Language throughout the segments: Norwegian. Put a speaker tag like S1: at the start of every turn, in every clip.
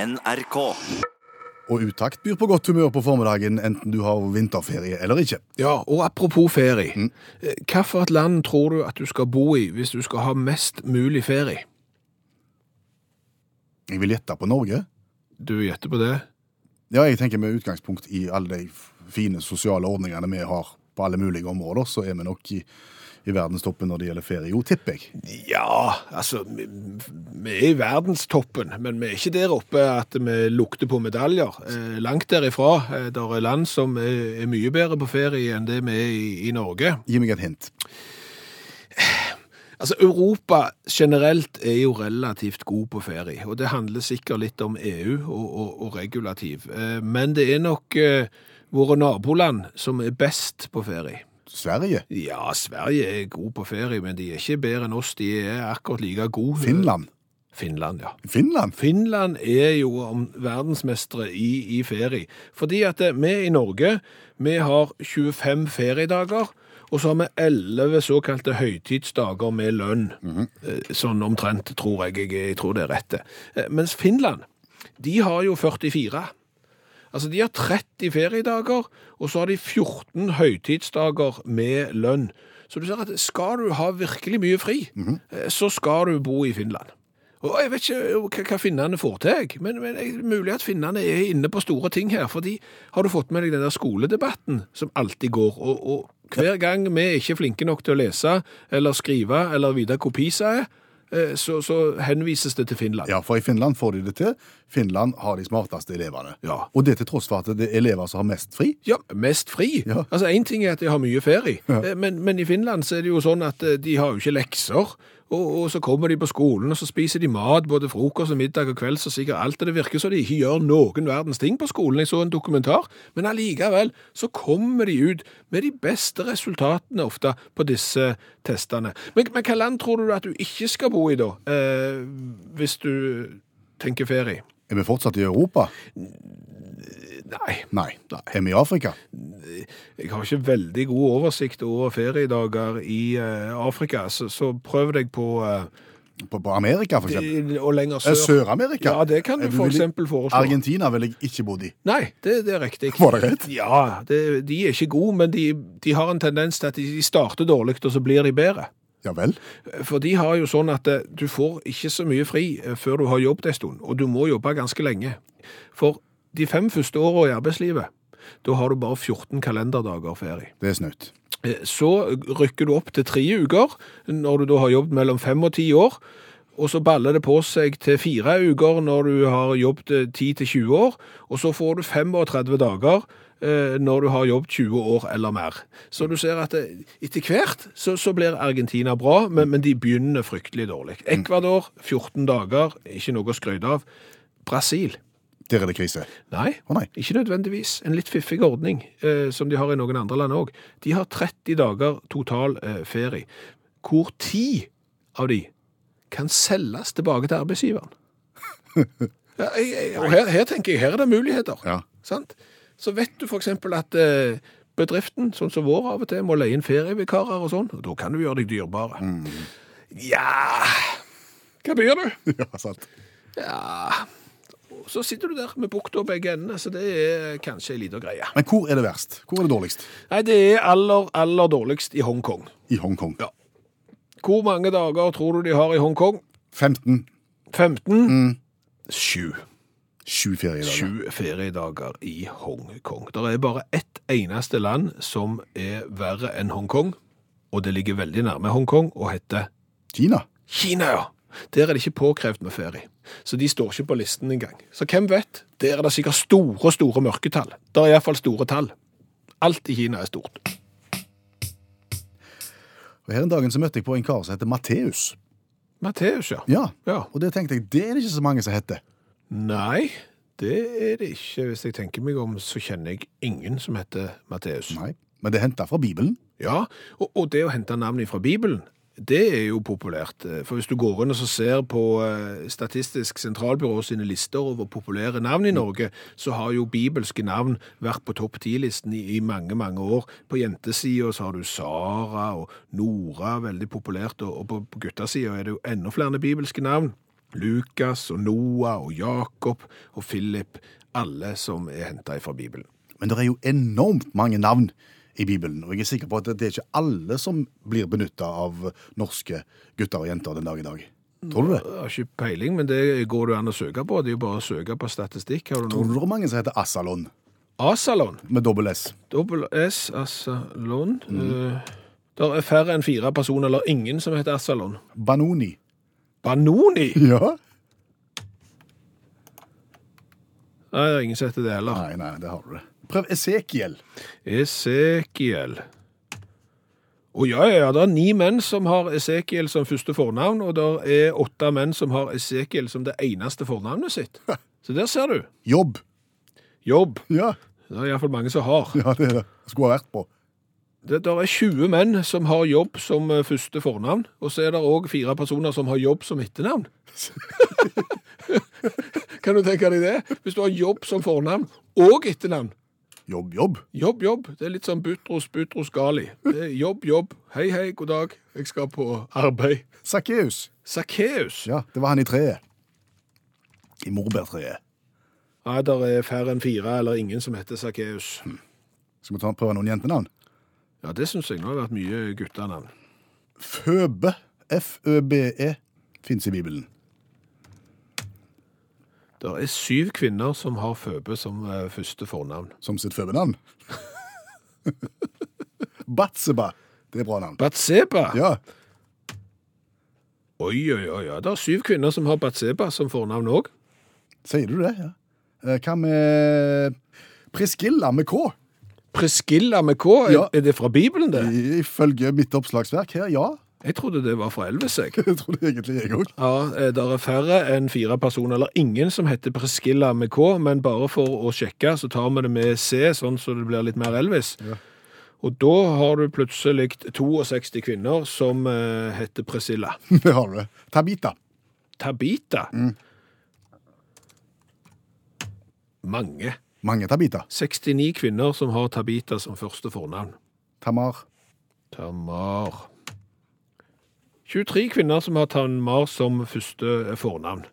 S1: NRK.
S2: Og utakt byr på godt humør på formiddagen, enten du har vinterferie eller ikke.
S3: Ja, og apropos ferie. Eh, Hvilket land tror du at du skal bo i hvis du skal ha mest mulig ferie?
S2: Jeg vil gjette på Norge.
S3: Du gjetter på det?
S2: Ja, jeg tenker med utgangspunkt i alle de f- fine sosiale ordningene vi har på alle mulige områder, så er vi nok i, i verdenstoppen når det gjelder ferie. Jo, tipper jeg.
S3: Ja, altså Vi vi er i verdenstoppen, men vi er ikke der oppe at vi lukter på medaljer. Eh, langt derifra. Eh, der er land som er, er mye bedre på ferie enn det vi er i, i Norge.
S2: Gi meg et hint.
S3: Altså, Europa generelt er jo relativt god på ferie, og det handler sikkert litt om EU og, og, og regulativ. Eh, Men det er nok eh, våre naboland som er best på ferie.
S2: Sverige?
S3: Ja, Sverige er god på ferie, men de er ikke bedre enn oss. De er akkurat like gode.
S2: Finland?
S3: Finland, ja.
S2: Finland?
S3: Finland er jo om- verdensmestere i, i ferie. Fordi at eh, vi i Norge, vi har 25 feriedager, og så har vi 11 såkalte høytidsdager med lønn. Eh, Sånn omtrent, tror jeg. jeg. Jeg tror det er rett. det. Eh, Mens Finland, de har jo 44. Altså, de har 30 feriedager, og så har de 14 høytidsdager med lønn. Så du ser at skal du ha virkelig mye fri, eh, så skal du bo i Finland. Og jeg vet ikke hva, hva finnene får til, jeg, men, men det er mulig at finnene er inne på store ting her, fordi har du fått med deg den der skoledebatten som alltid går, og, og hver gang vi er ikke flinke nok til å lese, eller skrive, eller vite hvor PISA er, eh, så, så henvises det til Finland.
S2: Ja, for i Finland får de det til. Finland har de smarteste elevene.
S3: Ja.
S2: Og det til tross for at det er elever som har mest fri.
S3: Ja, mest fri.
S2: Ja.
S3: Altså, En ting er at de har mye ferie,
S2: Ja.
S3: eh, men, men i Finland så er det jo sånn at eh, de har jo ikke lekser. Og, og så kommer de på skolen, og så spiser de mat, både frokost og middag og kvelds og sikkert alt. Og det virker som de ikke gjør noen verdens ting på skolen. Jeg så en dokumentar. Men allikevel så kommer de ut med de beste resultatene ofte på disse testene. Men, men hva land tror du at du ikke skal bo i da, eh, hvis du tenker ferie?
S2: Er vi fortsatt i Europa?
S3: Nei,
S2: Nei. Er vi i Afrika?
S3: Jeg har ikke veldig god oversikt over feriedager i eh, Afrika, så, så prøv deg på eh,
S2: På, på Amerika, for eksempel?
S3: i- og lenger
S2: Eh,
S3: sør.
S2: Sør-Amerika?
S3: Ja, det kan du
S2: Eh,
S3: for
S2: vil jeg-
S3: eksempel foreslå.
S2: Argentina ville jeg ikke bodd i.
S3: Nei, det, det er riktig.
S2: Var det rett?
S3: Ja, det, de er ikke gode, men de, de har en tendens til at de starter dårlig, og så blir de bedre.
S2: Ja vel?
S3: For de har jo sånn at eh, du får ikke så mye fri eh, før du har jobbet en stund, og du må jobbe ganske lenge. For de fem første årene i arbeidslivet, da har du bare 14 kalenderdager ferie.
S2: Det er snaut.
S3: Eh, Så rykker du opp til tre uker, når du da har jobbet mellom fem og ti år. Og så baller det på seg til fire uker når du har jobbet eh, 10 til 20 år. Og så får du 35 dager eh, når du har jobbet 20 år eller mer. Så du ser at eh, etter hvert så, så blir Argentina bra, men, men de begynner fryktelig dårlig. Ecuador 14 dager, ikke noe å skryte av. Brasil
S2: Der er det krise.
S3: Nei,
S2: Å nei.
S3: ikke nødvendigvis. En litt fiffig ordning, eh, som de har i noen andre land òg. De har 30 dager total eh, ferie, hvor 10 av de kan selges tilbake til arbeidsgiveren. Ja, jeg, jeg, og her, her tenker jeg, her er det muligheter.
S2: Ja.
S3: Sant? Så vet du f.eks. at eh, bedriften, sånn som vår av og til, må leie inn ferievikarer og sånn. og Da kan du gjøre deg dyrebare. Ja Hva byr du?
S2: Ja, sant.
S3: Ja Og Så sitter du der med bukta begge endene, så det er kanskje ei lita greie.
S2: Men hvor er det verst? Hvor er det dårligst?
S3: Nei, det er aller, aller dårligst i Hongkong.
S2: I Hongkong.
S3: Ja. Hvor mange dager tror du de har i Hongkong?
S2: 15.
S3: 15? Sju.
S2: Sju feriedager.
S3: Sju feriedager i Hongkong. Det er bare ett eneste land som er verre enn Hongkong, og det ligger veldig nærme Hongkong og heter
S2: Kina.
S3: Kina, ja. Der er det ikke påkrevd med ferie. Så de står ikke på listen engang. Så hvem vet? Der er det sikkert store, store mørketall. Der er iallfall store tall. Alt i Kina er stort.
S2: Og Her en dagen så møtte jeg på en kar som heter Matteus.
S3: Matteus, ja.
S2: Ja.
S3: Ja.
S2: Og det tenkte jeg, det er det ikke så mange som heter.
S3: Nei, det er det ikke. Hvis jeg tenker meg om, så kjenner jeg ingen som heter Matteus.
S2: Nei. Men det er henta fra Bibelen.
S3: Ja, og, og det å hente navn fra Bibelen, det er jo populært. Eh, For hvis du går inn og så ser på eh, Statistisk sentralbyrå sine lister over populære navn i Norge, så har jo bibelske navn vært på topp ti-listen i, i mange, mange år. På jentesida så har du Sara og Nora, veldig populært, og, og på, på guttasida er det jo enda flere bibelske navn. Lukas og Noah og Jakob og Philip, alle som er henta fra Bibelen.
S2: Men det er jo enormt mange navn i Bibelen, og jeg er sikker på at det er ikke alle som blir benytta av norske gutter og jenter den dag i dag. Tror du det?
S3: Jeg har ikke peiling, men det går det an å søke på. Det er jo bare å søke på statistikk. Har du
S2: Tror
S3: noen?
S2: du det er mange som heter Asalon,
S3: Asalon.
S2: med dobbel S?
S3: Dobbel S, Asalon. Det er færre enn fire personer, eller ingen, som heter Asalon.
S2: Banoni.
S3: Banoni!
S2: Ja?
S3: Nei, det er ingen som heter det heller.
S2: Nei, nei, det har du det. Prøv Esekiel.
S3: Esekiel. Å ja, ja, ja, det er ni menn som har Esekiel som første fornavn, og det er åtte menn som har Esekiel som det eneste fornavnet sitt. Så der ser du.
S2: Jobb.
S3: Jobb.
S2: Ja,
S3: Det er iallfall mange som har.
S2: ja det er det. Skulle ha vært på.
S3: Det der er 20 menn som har jobb som eh, første fornavn, og så er det òg fire personer som har jobb som etternavn. kan du tenke deg det? Hvis du har jobb som fornavn og etternavn.
S2: Jobb, jobb.
S3: Jobb, jobb. Det er litt sånn Butros, Butros Gali. Det er Jobb, jobb. Hei, hei, god dag. Jeg skal på arbeid.
S2: Sakkeus.
S3: Sakkeus.
S2: Ja, det var han i treet. I morbærtreet.
S3: Nei, der er færre enn fire eller ingen som heter Sakkeus.
S2: Skal vi ta, prøve noen jentenavn?
S3: Ja, det syns jeg nå har vært mye guttenavn.
S2: Føbe. F-ø-b-e. Fins i Bibelen.
S3: Der er syv kvinner som har Føbe som eh, første fornavn.
S2: Som sitt føbenavn. Batseba. Det er bra navn.
S3: Batseba.
S2: Ja.
S3: Oi, oi, oi. oi. Det er syv kvinner som har Batseba som fornavn òg.
S2: Sier du det? Ja. Eh, Hva med Priskilla med K?
S3: Priscilla med K. Er,
S2: Ja.
S3: er det fra Bibelen, det?
S2: I- Ifølge mitt oppslagsverk her, ja.
S3: Mm. Jeg trodde det var fra Elvis, jeg.
S2: Det trodde egentlig jeg òg.
S3: Ja, eh, der er færre enn fire personer, eller ingen som heter Priscilla med K, men bare for å sjekke, så tar vi det med C, sånn så det blir litt mer Elvis. Og da har du plutselig 62 kvinner som eh, heter Priscilla.
S2: Det har du. Tabita.
S3: Tabita. Mange.
S2: Mange Tabita.
S3: 69 kvinner som har Tabita som første fornavn.
S2: Tamar.
S3: Tamar. 23 kvinner som har Tamar som første eh, fornavn.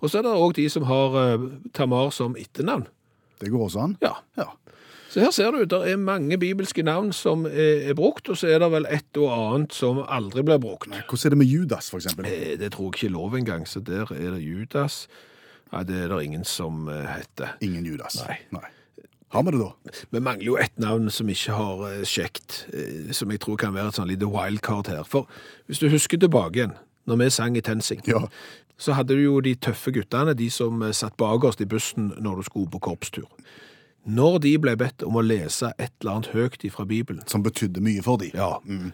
S3: Og så er det òg de som har eh, Tamar som etternavn.
S2: Det går også an.
S3: Ja.
S2: Ja.
S3: Så her ser du, det er mange bibelske navn som eh, er, er brukt, og så er det vel et og annet som aldri blir brukt.
S2: Hvordan er det med Judas, for eksempel?
S3: Eh, Det tror jeg ikke er lov engang, så der er det Judas. Nei, det er det ingen som eh, heter.
S2: Ingen Judas.
S3: Nei.
S2: Har vi det, da?
S3: Vi mangler jo ett navn som ikke har eh, sjekt, eh, som jeg tror kan være et sånn lite wildcard her. For hvis du husker tilbake igjen, når vi sang i Tensing,
S2: Ja.
S3: så hadde du jo de tøffe guttene, de som eh, satt bakerst i bussen når du skulle på korpstur. Når de ble bedt om å lese et eller annet høyt ifra Bibelen,
S2: Som betydde mye for dem.
S3: ja, mm.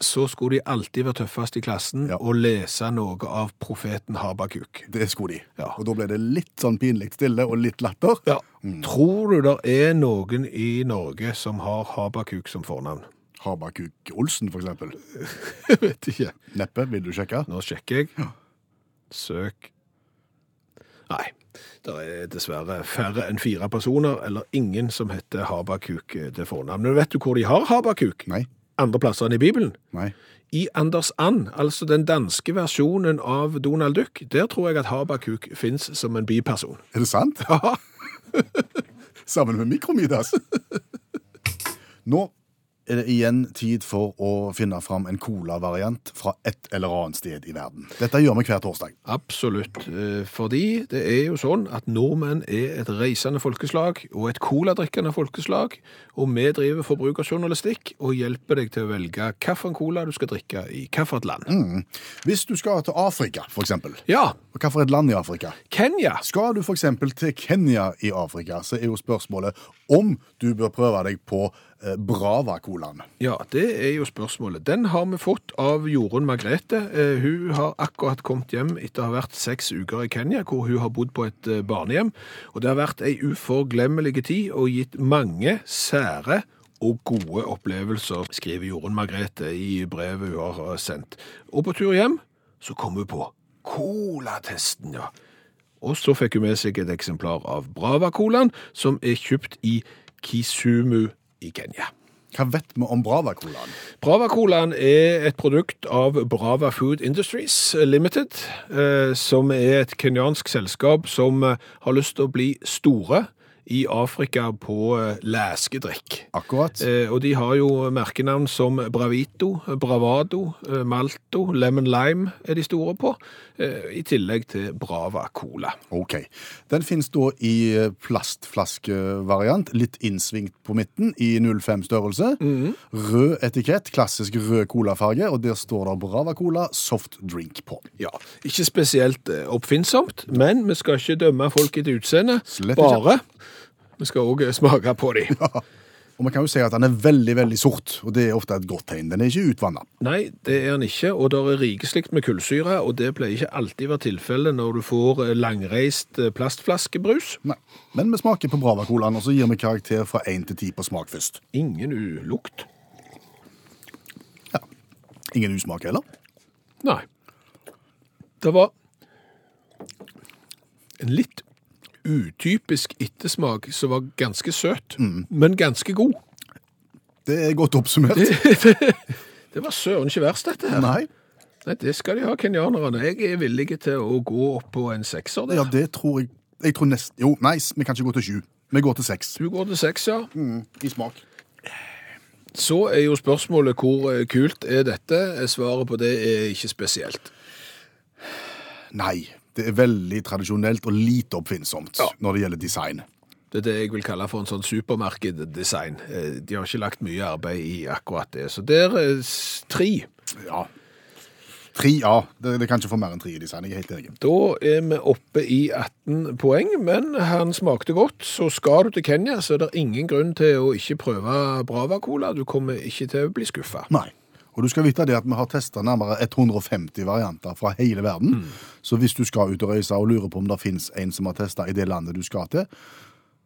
S3: så skulle de alltid være tøffest i klassen
S2: Ja.
S3: og lese noe av profeten Habakuk.
S2: Det skulle de.
S3: Ja.
S2: Og da ble det litt sånn pinlig stille og litt latter.
S3: Ja. Mm. Tror du det er noen i Norge som har Habakuk som fornavn?
S2: Habakuk Olsen, for eksempel.
S3: Jeg vet ikke.
S2: Neppe, vil du sjekke?
S3: Nå sjekker jeg. Søk. Nei, det er dessverre færre enn fire personer, eller ingen som heter Habakuk eh, til fornavn. Men vet du hvor de har Habakuk?
S2: Nei.
S3: Andre plasser enn i Bibelen.
S2: Nei.
S3: I Anders And, altså den danske versjonen av Donald Duck, der tror jeg at Habakuk fins som en biperson.
S2: Er det sant?
S3: Ja.
S2: Sammen med Mikromidas. Nå er det igjen tid for å finne fram en colavariant fra et eller annet sted i verden. Dette gjør vi hver torsdag.
S3: Absolutt, eh, fordi det er jo sånn at nordmenn er et reisende folkeslag og et coladrikkende folkeslag, og vi driver forbrukerjournalistikk og hjelper deg til å velge hvilken cola du skal drikke i hvilket land.
S2: Mm. Hvis du skal til Afrika, for eksempel.
S3: Ja,
S2: Og hva for et land i Afrika?
S3: Kenya.
S2: Skal du for eksempel til Kenya i Afrika, så er jo spørsmålet om du bør prøve deg på eh, Brava-colaen.
S3: Ja, det er jo spørsmålet. Den har vi fått av Jorunn Margrethe. Eh, Hun har akkurat kommet hjem etter å ha vært seks uker i Kenya, hvor hun har bodd på et eh, barnehjem. Og det har vært ei uforglemmelig tid og gitt mange sære og gode opplevelser, skriver Jorunn Margrethe i brevet hun har eh, sendt. Og på tur hjem så kom hun på colatesten, ja. Og så fikk hun med seg et eksemplar av Brava-colaen, som er kjøpt i Kisumu i Kenya.
S2: Hva vet vi om Brava-colaen?
S3: Brava-colaen er et produkt av Brava Food Industries Limited, eh, som er et kenyansk selskap som eh, har lyst til å bli store i Afrika på eh, læskedrikk.
S2: Akkurat.
S3: Eh, og de har jo merkenavn som Bravito, Bravado, eh, Malto, Lemon Lime er de store på, eh, i tillegg til Brava Cola.
S2: Ok. Den finnes da i eh, plastflaskevariant, litt innsvingt på midten, i 05-størrelse. Rød etikett, klassisk rød colafarge, og der står det Brava Cola soft drink på.
S3: Ja, ikke spesielt eh, oppfinnsomt, men vi skal ikke dømme folk i det utseende,
S2: Slett ikke.
S3: bare. Vi skal også eh, smake på dem.
S2: Og man kan jo si at den er veldig, veldig sort, og det er ofte et godt tegn. Den er ikke utvanna.
S3: Nei, det er den ikke, og det er rikeslikt med kullsyre, og det pleier ikke alltid være tilfelle når du får eh, langreist eh, plastflaskebrus.
S2: Nei. Men vi smaker på Brava Colaen, og så gir vi karakter fra 1 til 10 på smak først.
S3: Ingen ulukt.
S2: Ingen usmak heller.
S3: Nei. Det var en litt utypisk ettersmak som var ganske søt,
S2: Mm.
S3: men ganske god.
S2: Det er godt oppsummert.
S3: Det var søren ikke verst, dette her.
S2: Nei,
S3: Nei, det skal de ha, kenyanerne. Jeg er villig til å gå opp på en sekser der.
S2: ja, det tror jeg Jeg tror nest... Jo, nei, vi kan ikke gå til sju. Vi går til seks.
S3: Du går til seks, ja.
S2: I smak.
S3: Så er jo spørsmålet hvor eh, kult er dette? Eh, Svaret på det er ikke spesielt.
S2: Nei. Det er veldig tradisjonelt og lite oppfinnsomt når det gjelder design.
S3: Det er det jeg vil kalle for en sånn supermarkeddesign. Eh, De har ikke lagt mye arbeid i akkurat det. Så der er s- tre.
S2: Ja. Tre, ja. Det, det kan ikke få mer enn tre i design. Jeg er helt enig.
S3: Da er vi oppe i 18 poeng, men han smakte godt. Så skal du til Kenya, så er det ingen grunn til å ikke prøve Brava Cola. Du kommer ikke til å bli skuffa.
S2: Nei. Og du skal vite det at vi har testa nærmere 150 varianter fra hele verden. Så hvis du skal ut og reise og lurer på om det fins en som har testa i det landet du skal til,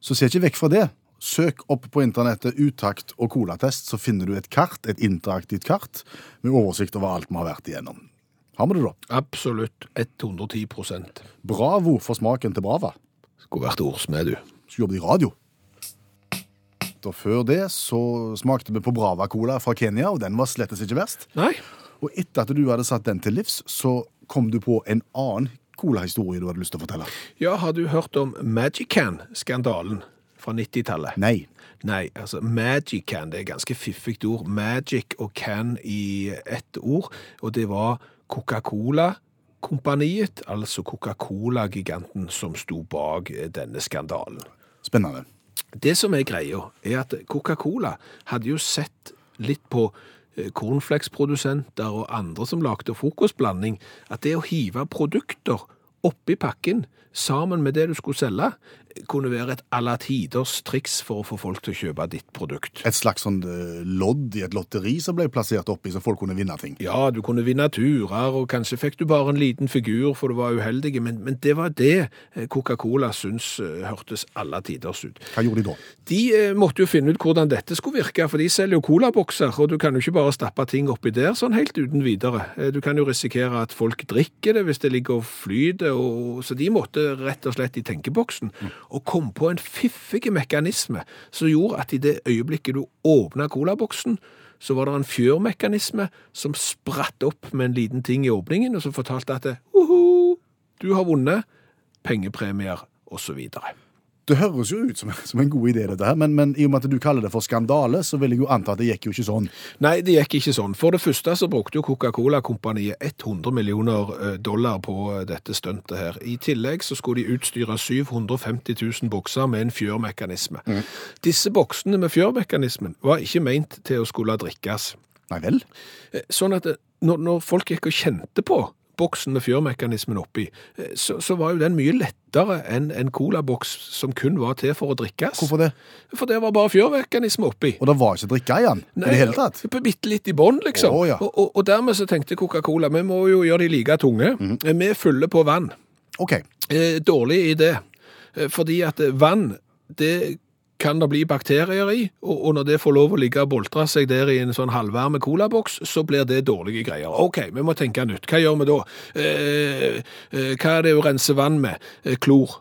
S2: så se ikke vekk fra det. Søk opp på internettet 'utakt og colatest', så finner du et kart, et interaktivt kart med oversikt over alt vi har vært igjennom. Har vi det, da?
S3: Absolutt 110 Skulle
S2: Bravo for smaken til Brava.
S3: vært ordsmed, du.
S2: Skulle jobbe i radio. Og før det så smakte vi på Brava Cola fra Kenya, og den var slettes ikke verst.
S3: Nei.
S2: Og etter at du hadde satt den til livs, så kom du på en annen colahistorie du hadde lyst til å fortelle.
S3: Ja, har du hørt om Magican-skandalen fra 90-tallet?
S2: Nei.
S3: Nei, altså Magican, det er et ganske fiffigt ord. Magic og can i ett ord. Og det var Coca-Cola-kompaniet, altså Coca-Cola-giganten, som sto bak eh, denne skandalen.
S2: Spennende.
S3: Det som er greia, er at Coca-Cola hadde jo sett litt på eh, cornflakesprodusenter og andre som lagde frokostblanding, at det å hive produkter oppi pakken sammen med det du skulle selge, kunne være et alle tiders triks for å få folk til å kjøpe ditt produkt.
S2: Et slags sånn eh, lodd i et lotteri som ble plassert oppi, så folk kunne vinne ting.
S3: Ja, du kunne vinne turer, og kanskje fikk du bare en liten figur, for du var uheldig, men, men det var det eh, Coca-Cola syns eh, hørtes alle tiders ut.
S2: Hva gjorde de da?
S3: De eh, måtte jo finne ut hvordan dette skulle virke, for de selger jo colabokser, og du kan jo ikke bare stappe ting oppi der sånn helt uten videre. Eh, Du kan jo risikere at folk drikker det hvis det ligger og flyter, og... så de måtte rett og slett i tenkeboksen, og kom på en fiffig mekanisme som gjorde at i det øyeblikket du åpnet colaboksen, så var det en fjørmekanisme som spratt opp med en liten ting i åpningen, og som fortalte at «Uhu, du har vunnet pengepremier», og så videre.
S2: Det høres jo ut som, som en god idé, dette her, men, men i og med at du kaller det for skandale, så vil jeg jo anta at det gikk jo ikke sånn.
S3: Nei, det gikk ikke sånn. For det første så brukte jo Coca-Cola-kompaniet 100 millioner eh, dollar på eh, dette stuntet her. I tillegg så skulle de utstyre 750 000 bokser med en fjørmekanisme. Disse boksene med fjørmekanismen var ikke meint til å skulle drikkes.
S2: Nei vel?
S3: Eh, Sånn at eh, når, når folk gikk og kjente på boksen med fjørmekanismen oppi, eh, så, så var jo den mye lettere enn en colaboks som kun var til for å drikkes.
S2: Hvorfor det?
S3: For det var bare fjørmekanisme oppi.
S2: Og det var ikke drikke i den i det hele tatt?
S3: Bitte litt i bånn, liksom.
S2: Å, ja.
S3: og, og, og dermed så tenkte Coca-Cola vi må jo gjøre de like tunge.
S2: Mhm.
S3: Vi fyller på vann.
S2: OK.
S3: Eh, dårlig idé. Eh, fordi at eh, vann, det kan det bli bakterier i, og, og når det får lov å ligge og boltre seg der i en sånn halvvarme colaboks, så blir det dårlige greier. OK, vi må tenke nytt. Hva gjør vi da? Eh, eh, hva er det å rense vann med? Eh, klor.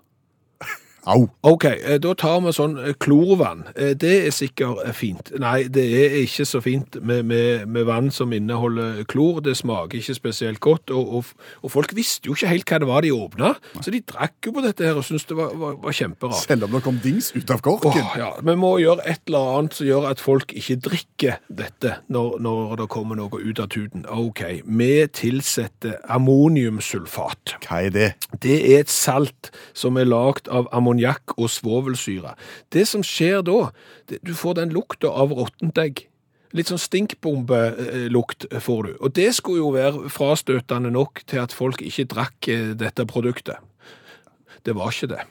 S2: Au.
S3: OK, eh, da tar vi sånn eh, klorvann. Eh, Det er sikkert eh, fint. Nei, det er ikke så fint med, med, med vann som inneholder klor. Det smaker ikke spesielt godt. Og, og, f- og folk visste jo ikke helt hva det var de åpna, så de drakk jo på dette her og syntes det var, var, var kjemperart.
S2: Selv om det kom dings ut av
S3: Åh,
S2: korken.
S3: ja. Vi må gjøre et eller annet som gjør at folk ikke drikker dette når, når det kommer noe ut av tuten. OK, vi tilsetter ammoniumsulfat.
S2: Hva er det?
S3: Det er et salt som er lagd av ammoniakk og svovelsyre. Det som skjer da, det, du får den lukta av råttent egg. Litt sånn stinkbombelukt eh, får du. Og det skulle jo være frastøtende nok til at folk ikke drakk eh, dette produktet. Det var ikke det.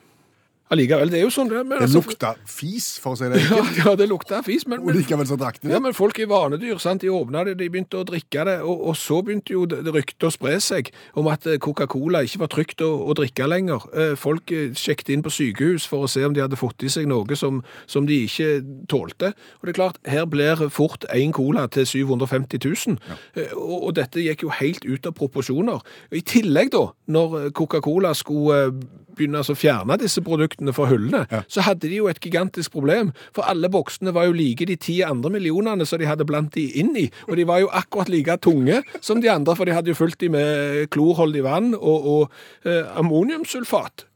S3: Allikevel, det er jo sånn det, men
S2: Det
S3: altså-
S2: lukta fis, for å si det.
S3: ja, ja, det lukta fis, men,
S2: Og
S3: men,
S2: likevel så drakk de
S3: ja,
S2: det.
S3: men folk er vanedyr. sant? De åpna det, de begynte å drikke det, og, og så begynte jo det det ryktet å spre seg om at eh, Coca-Cola ikke var trygt å, å drikke lenger. Eh, Folk eh, sjekket inn på sykehus for å se om de hadde fått i seg noe som, som de ikke tålte. Og det er klart, her blir fort én cola til 750 000, Eh, og, og dette gikk jo helt ut av proporsjoner. I tillegg, da, når Coca-Cola skulle eh, begynne altså å fjerne disse produktene fra hyllene, så hadde de jo et gigantisk problem. For alle boksene var jo like de ti andre millionene som de hadde blant de inn i. Og de var jo akkurat like tunge som de andre, for de hadde jo fulgt de med klorholdig vann og, og eh, ammoniumsulfat.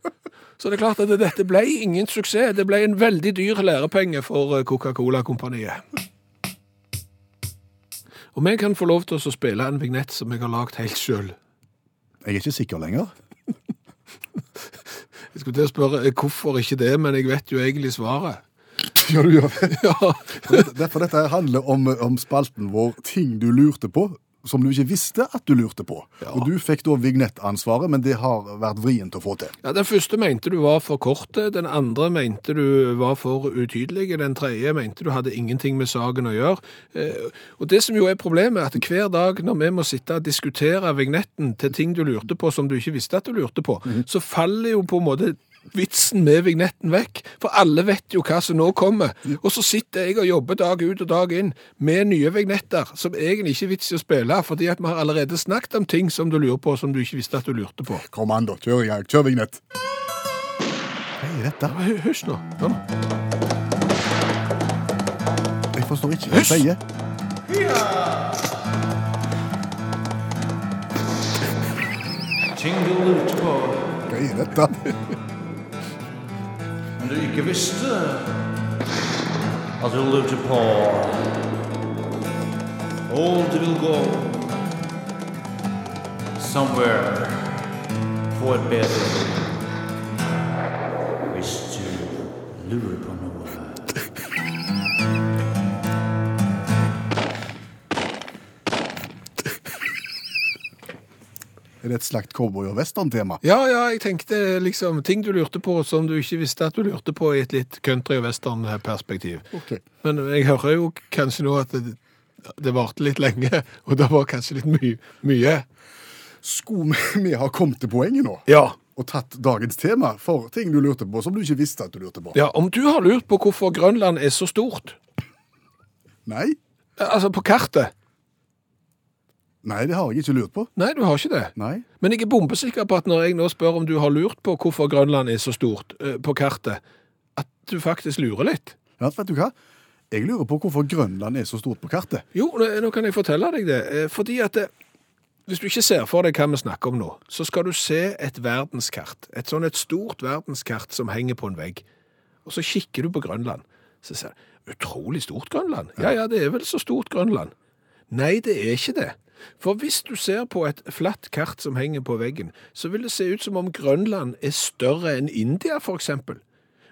S3: Så det er klart at dette ble ingen suksess. Det ble en veldig dyr lærepenge for eh, Coca-Cola-kompaniet. Og vi kan få lov til å spille en vignett som jeg har lagd helt sjøl.
S2: Jeg er ikke sikker lenger.
S3: Jeg skulle til å spørre eh, hvorfor ikke det, men jeg vet jo egentlig svaret.
S2: Ja, du gjør det.
S3: Ja,
S2: For dette, det- for dette her handler om, om spalten vår Ting du lurte på, som du ikke visste at du lurte på. Og du fikk da vignettansvaret, men det har vært vrient å få til.
S3: ja Den første mente du var for korte, den andre mente du var for utydelig, den tredje mente du hadde ingenting med saken å gjøre. Eh, Og det som jo er problemet, er at hver dag når vi må sitte og diskutere vignetten til ting du lurte på som du ikke visste at du lurte på, så faller jo på en måte vitsen med vignetten vekk, for alle vet jo hva som nå kommer. Og så sitter jeg og jobber dag ut og dag inn med nye vignetter, som egentlig ikke er vits i å spille, fordi at vi har allerede snakket om ting som du lurer på, som du ikke visste at du lurte på.
S2: Kom an, da. Kjør i gang. Kjør vignett. Hva er dette?
S3: Hø- Hysj nå. Kom.
S2: Jeg forstår ikke hva jeg
S3: Hysj!
S2: sier.
S1: Ting du lurte på,
S2: Hva er dette?
S1: men du ikke visste at du lurte på. Og du vil gå somewhere for et bedre hvis du lurer på noe.
S2: Er det et slakt cowboy- og western-tema?
S3: Ja, ja, jeg tenkte liksom ting du lurte på som du ikke visste at du lurte på i et litt country- og western-perspektiv.
S2: Ok.
S3: Men jeg hører jo kanskje nå at det, det varte litt lenge, og det var kanskje litt my mye.
S2: Skulle vi- vi ha kommet til poenget nå?
S3: Ja.
S2: Og tatt dagens tema for ting du lurte på som du ikke visste at du lurte på?
S3: ja. Om du har lurt på hvorfor Grønland er så stort,
S2: Nei?
S3: altså på kartet
S2: Nei, det har jeg ikke lurt på.
S3: Nei, du har ikke det.
S2: Nei.
S3: Men jeg er bombesikker på at når jeg nå spør om du har lurt på hvorfor Grønland er så stort eh, på kartet, at du faktisk lurer litt.
S2: Ja, vet du hva? Jeg lurer på hvorfor Grønland er så stort på kartet.
S3: Jo, nå- nå kan jeg fortelle deg det. Eh, Fordi at eh, hvis du ikke ser for deg hva vi snakker om nå, så skal du se et verdenskart. Et sånn et stort verdenskart som henger på en vegg. Og så kikker du på Grønland. Så ser du utrolig stort Grønland. Ja, ja, det er vel så stort Grønland. Nei, det er ikke det. For hvis du ser på et flatt kart som henger på veggen, så vil det se ut som om Grønland er større enn India, for eksempel.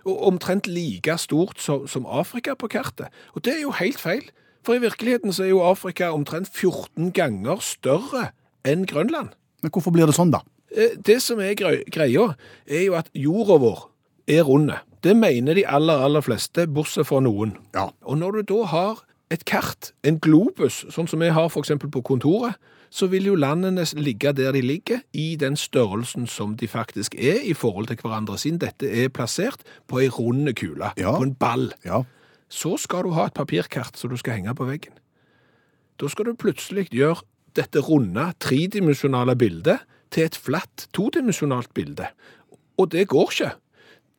S3: Og omtrent like stort som, som Afrika på kartet. Og det er jo helt feil. For i virkeligheten så er jo Afrika omtrent 14 ganger større enn Grønland.
S2: Men hvorfor blir det sånn, da?
S3: Eh, Det som er grei- greia, er jo at jorda vår er runde. Det mener de aller, aller fleste, bortsett fra noen.
S2: Ja.
S3: Og når du da har et kart, en globus, sånn som vi har for eksempel på kontoret, så vil jo landene ligge der de ligger, i den størrelsen som de faktisk er i forhold til hverandre, siden dette er plassert på ei runde kule,
S2: Ja.
S3: på en ball.
S2: Ja.
S3: Så skal du ha et papirkart som du skal henge på veggen. Da skal du plutselig gjøre dette runde, tredimensjonale bildet til et flatt, todimensjonalt bilde. Og det går ikke.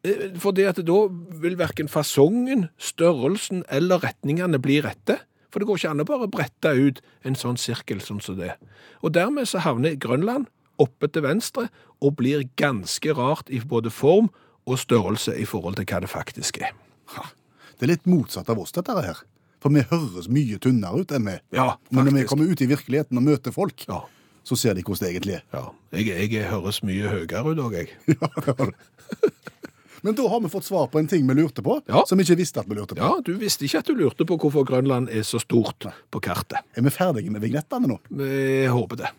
S3: Eh, For det at da vil verken fasongen, størrelsen eller retningene bli rette. For det går ikke an å bare brette ut en sånn sirkel sånn som det. Og dermed så havner Grønland oppe til venstre og blir ganske rart i både form og størrelse i forhold til hva det faktisk er.
S2: Ha, Det er litt motsatt av oss, dette her. For vi høres mye tynnere ut enn vi.
S3: Ja,
S2: Men når vi
S3: faktisk.
S2: kommer ut i virkeligheten og møter folk,
S3: Ja,
S2: så ser de hvordan det egentlig er.
S3: ja. Jeg, jeg høres mye høyere ut òg, jeg.
S2: Ja, det har du. Men da har vi fått svar på en ting vi lurte på,
S3: Ja.
S2: som vi ikke visste at vi lurte på.
S3: Ja, du visste ikke at du lurte på hvorfor Grønland er så stort på kartet.
S2: Er vi ferdige med vignettene nå?
S3: Vi håper det.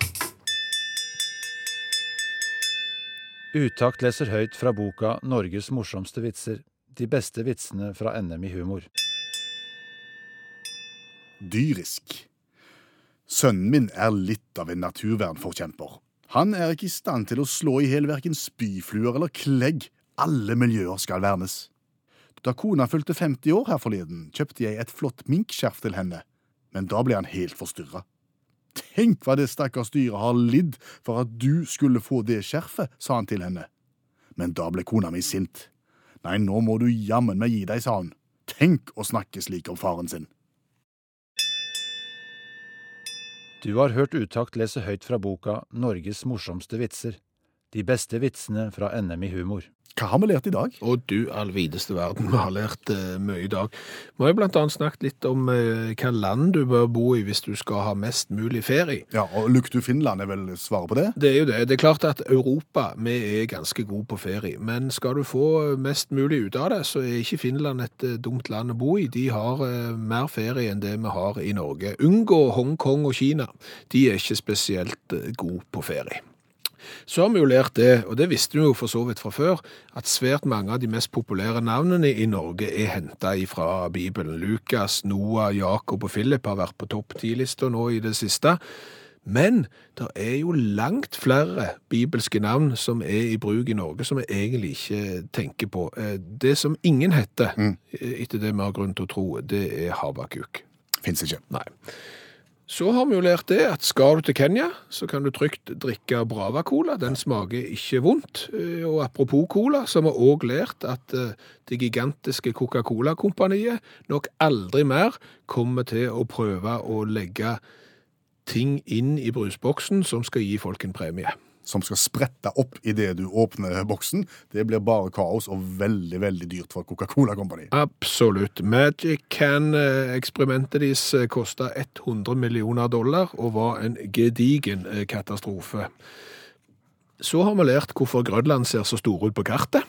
S4: Utakt leser høyt fra boka Norges morsomste vitser. De beste vitsene fra NM i humor.
S2: dyrisk. Sønnen min er litt av en naturvernforkjemper. Han er ikke i stand til å slå i hjel verken spyfluer eller klegg. Alle miljøer skal vernes. Da kona fylte 50 år her forleden, kjøpte jeg et flott minkskjerf til henne, men da ble han helt forstyrra. Tenk hva det stakkars dyret har lidd for at du skulle få det skjerfet, sa han til henne. Men da ble kona mi sint. Nei, nå må du jammen meg gi deg, sa hun. Tenk å snakke slik om faren sin.
S4: Du har hørt Utakt lese høyt fra boka Norges morsomste vitser. De beste vitsene fra NM i humor.
S2: Hva har vi lært i dag?
S3: Og du all videste verden, vi har lært eh, mye i dag. Vi har jo blant annet snakket litt om eh, hva land du bør bo i hvis du skal ha mest mulig ferie.
S2: Ja, og Luktu Finland er vel svaret på det?
S3: Det er jo det. Det er klart at Europa, vi er ganske gode på ferie, men skal du få mest mulig ut av det, så er ikke Finland et eh, dumt land å bo i. De har eh, mer ferie enn det vi har i Norge. Unngå Hongkong og Kina. De er ikke spesielt eh, gode på ferie. Så har vi jo lært det, og det visste vi jo for så vidt fra før, at svært mange av de mest populære navnene i Norge er henta fra Bibelen. Lukas, Noah, Jakob og Philip har vært på topp ti-lista nå i det siste. Men det er jo langt flere bibelske navn som er i bruk i Norge, som vi egentlig ikke tenker på. Eh, Det som ingen heter, eh, etter det vi har grunn til å tro, det er Habakuk.
S2: Fins ikke.
S3: Nei. Så har vi jo lært det at skal du til Kenya, så kan du trygt drikke Brava-cola. Den smaker ikke vondt. Eh, Og apropos cola, så har vi òg lært at eh, det gigantiske Coca-Cola-kompaniet nok aldri mer kommer til å prøve å legge ting inn i brusboksen som skal gi folk en premie.
S2: Som skal sprette opp idet du åpner boksen. Det blir bare kaos og veldig veldig dyrt for Coca-Cola Company.
S3: Absolutt. Magic Can-eksperimentet deres kosta 100 millioner dollar og var en gedigen eh, katastrofe. Så har vi lært hvorfor Grønland ser så store ut på kartet.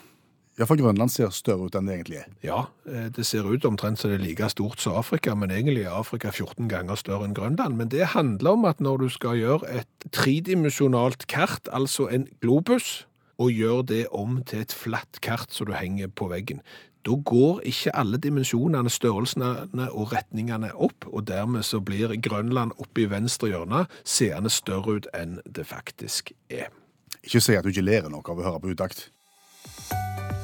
S2: Ja, for Grønland ser større ut enn det egentlig er.
S3: Ja, eh, det ser ut omtrent som det er like stort som Afrika, men egentlig er Afrika 14 ganger større enn Grønland. Men det handler om at når du skal gjøre et tredimensjonalt kart, altså en globus, og gjør det om til et flatt kart som du henger på veggen, da går ikke alle dimensjonene, størrelsene og retningene opp, og dermed så blir Grønland oppe i venstre hjørne seende større ut enn det faktisk er.
S2: Ikke si at du ikke lærer noe av å høre på utakt.